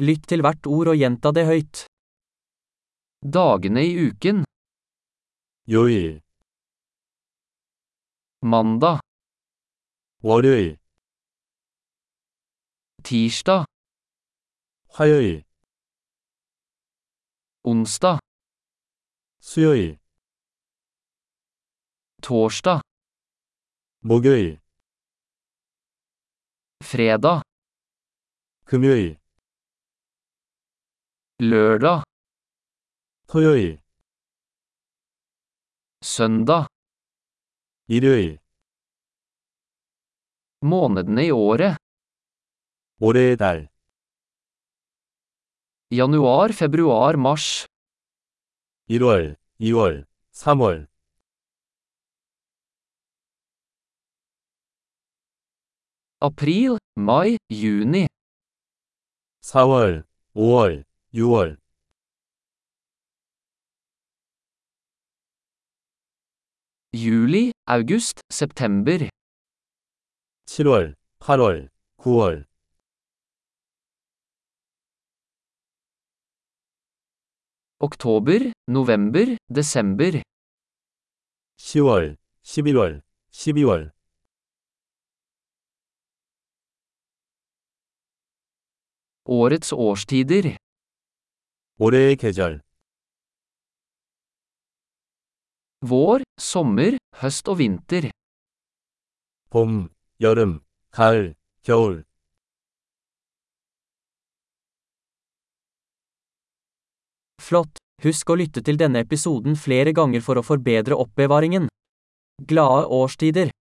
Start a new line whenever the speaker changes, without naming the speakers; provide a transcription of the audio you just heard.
Lytt til hvert ord og gjenta det høyt. Dagene i uken.
요일,
Mandag,
월요일,
tirsdag,
화요일,
onsdag,
수요일,
torsdag,
목요일,
fredag,
금요일,
lørdag,
토요일,
søndag.
일요일,
Månedene i året.
올해의 달,
Januar, februar, mars.
1월, 2월, 3월,
April, mai, juni.
4월, 5월, 6월,
Juli, august, september.
7월, 8월, 9월,
Oktober, november, desember.
10월, 11월, 12월,
Årets årstider.
올해의 계절,
Vår, sommer, høst og vinter.
봄, 여름, 가을, 겨울,
Flott! Husk å lytte til denne episoden flere ganger for å forbedre oppbevaringen. Glade årstider!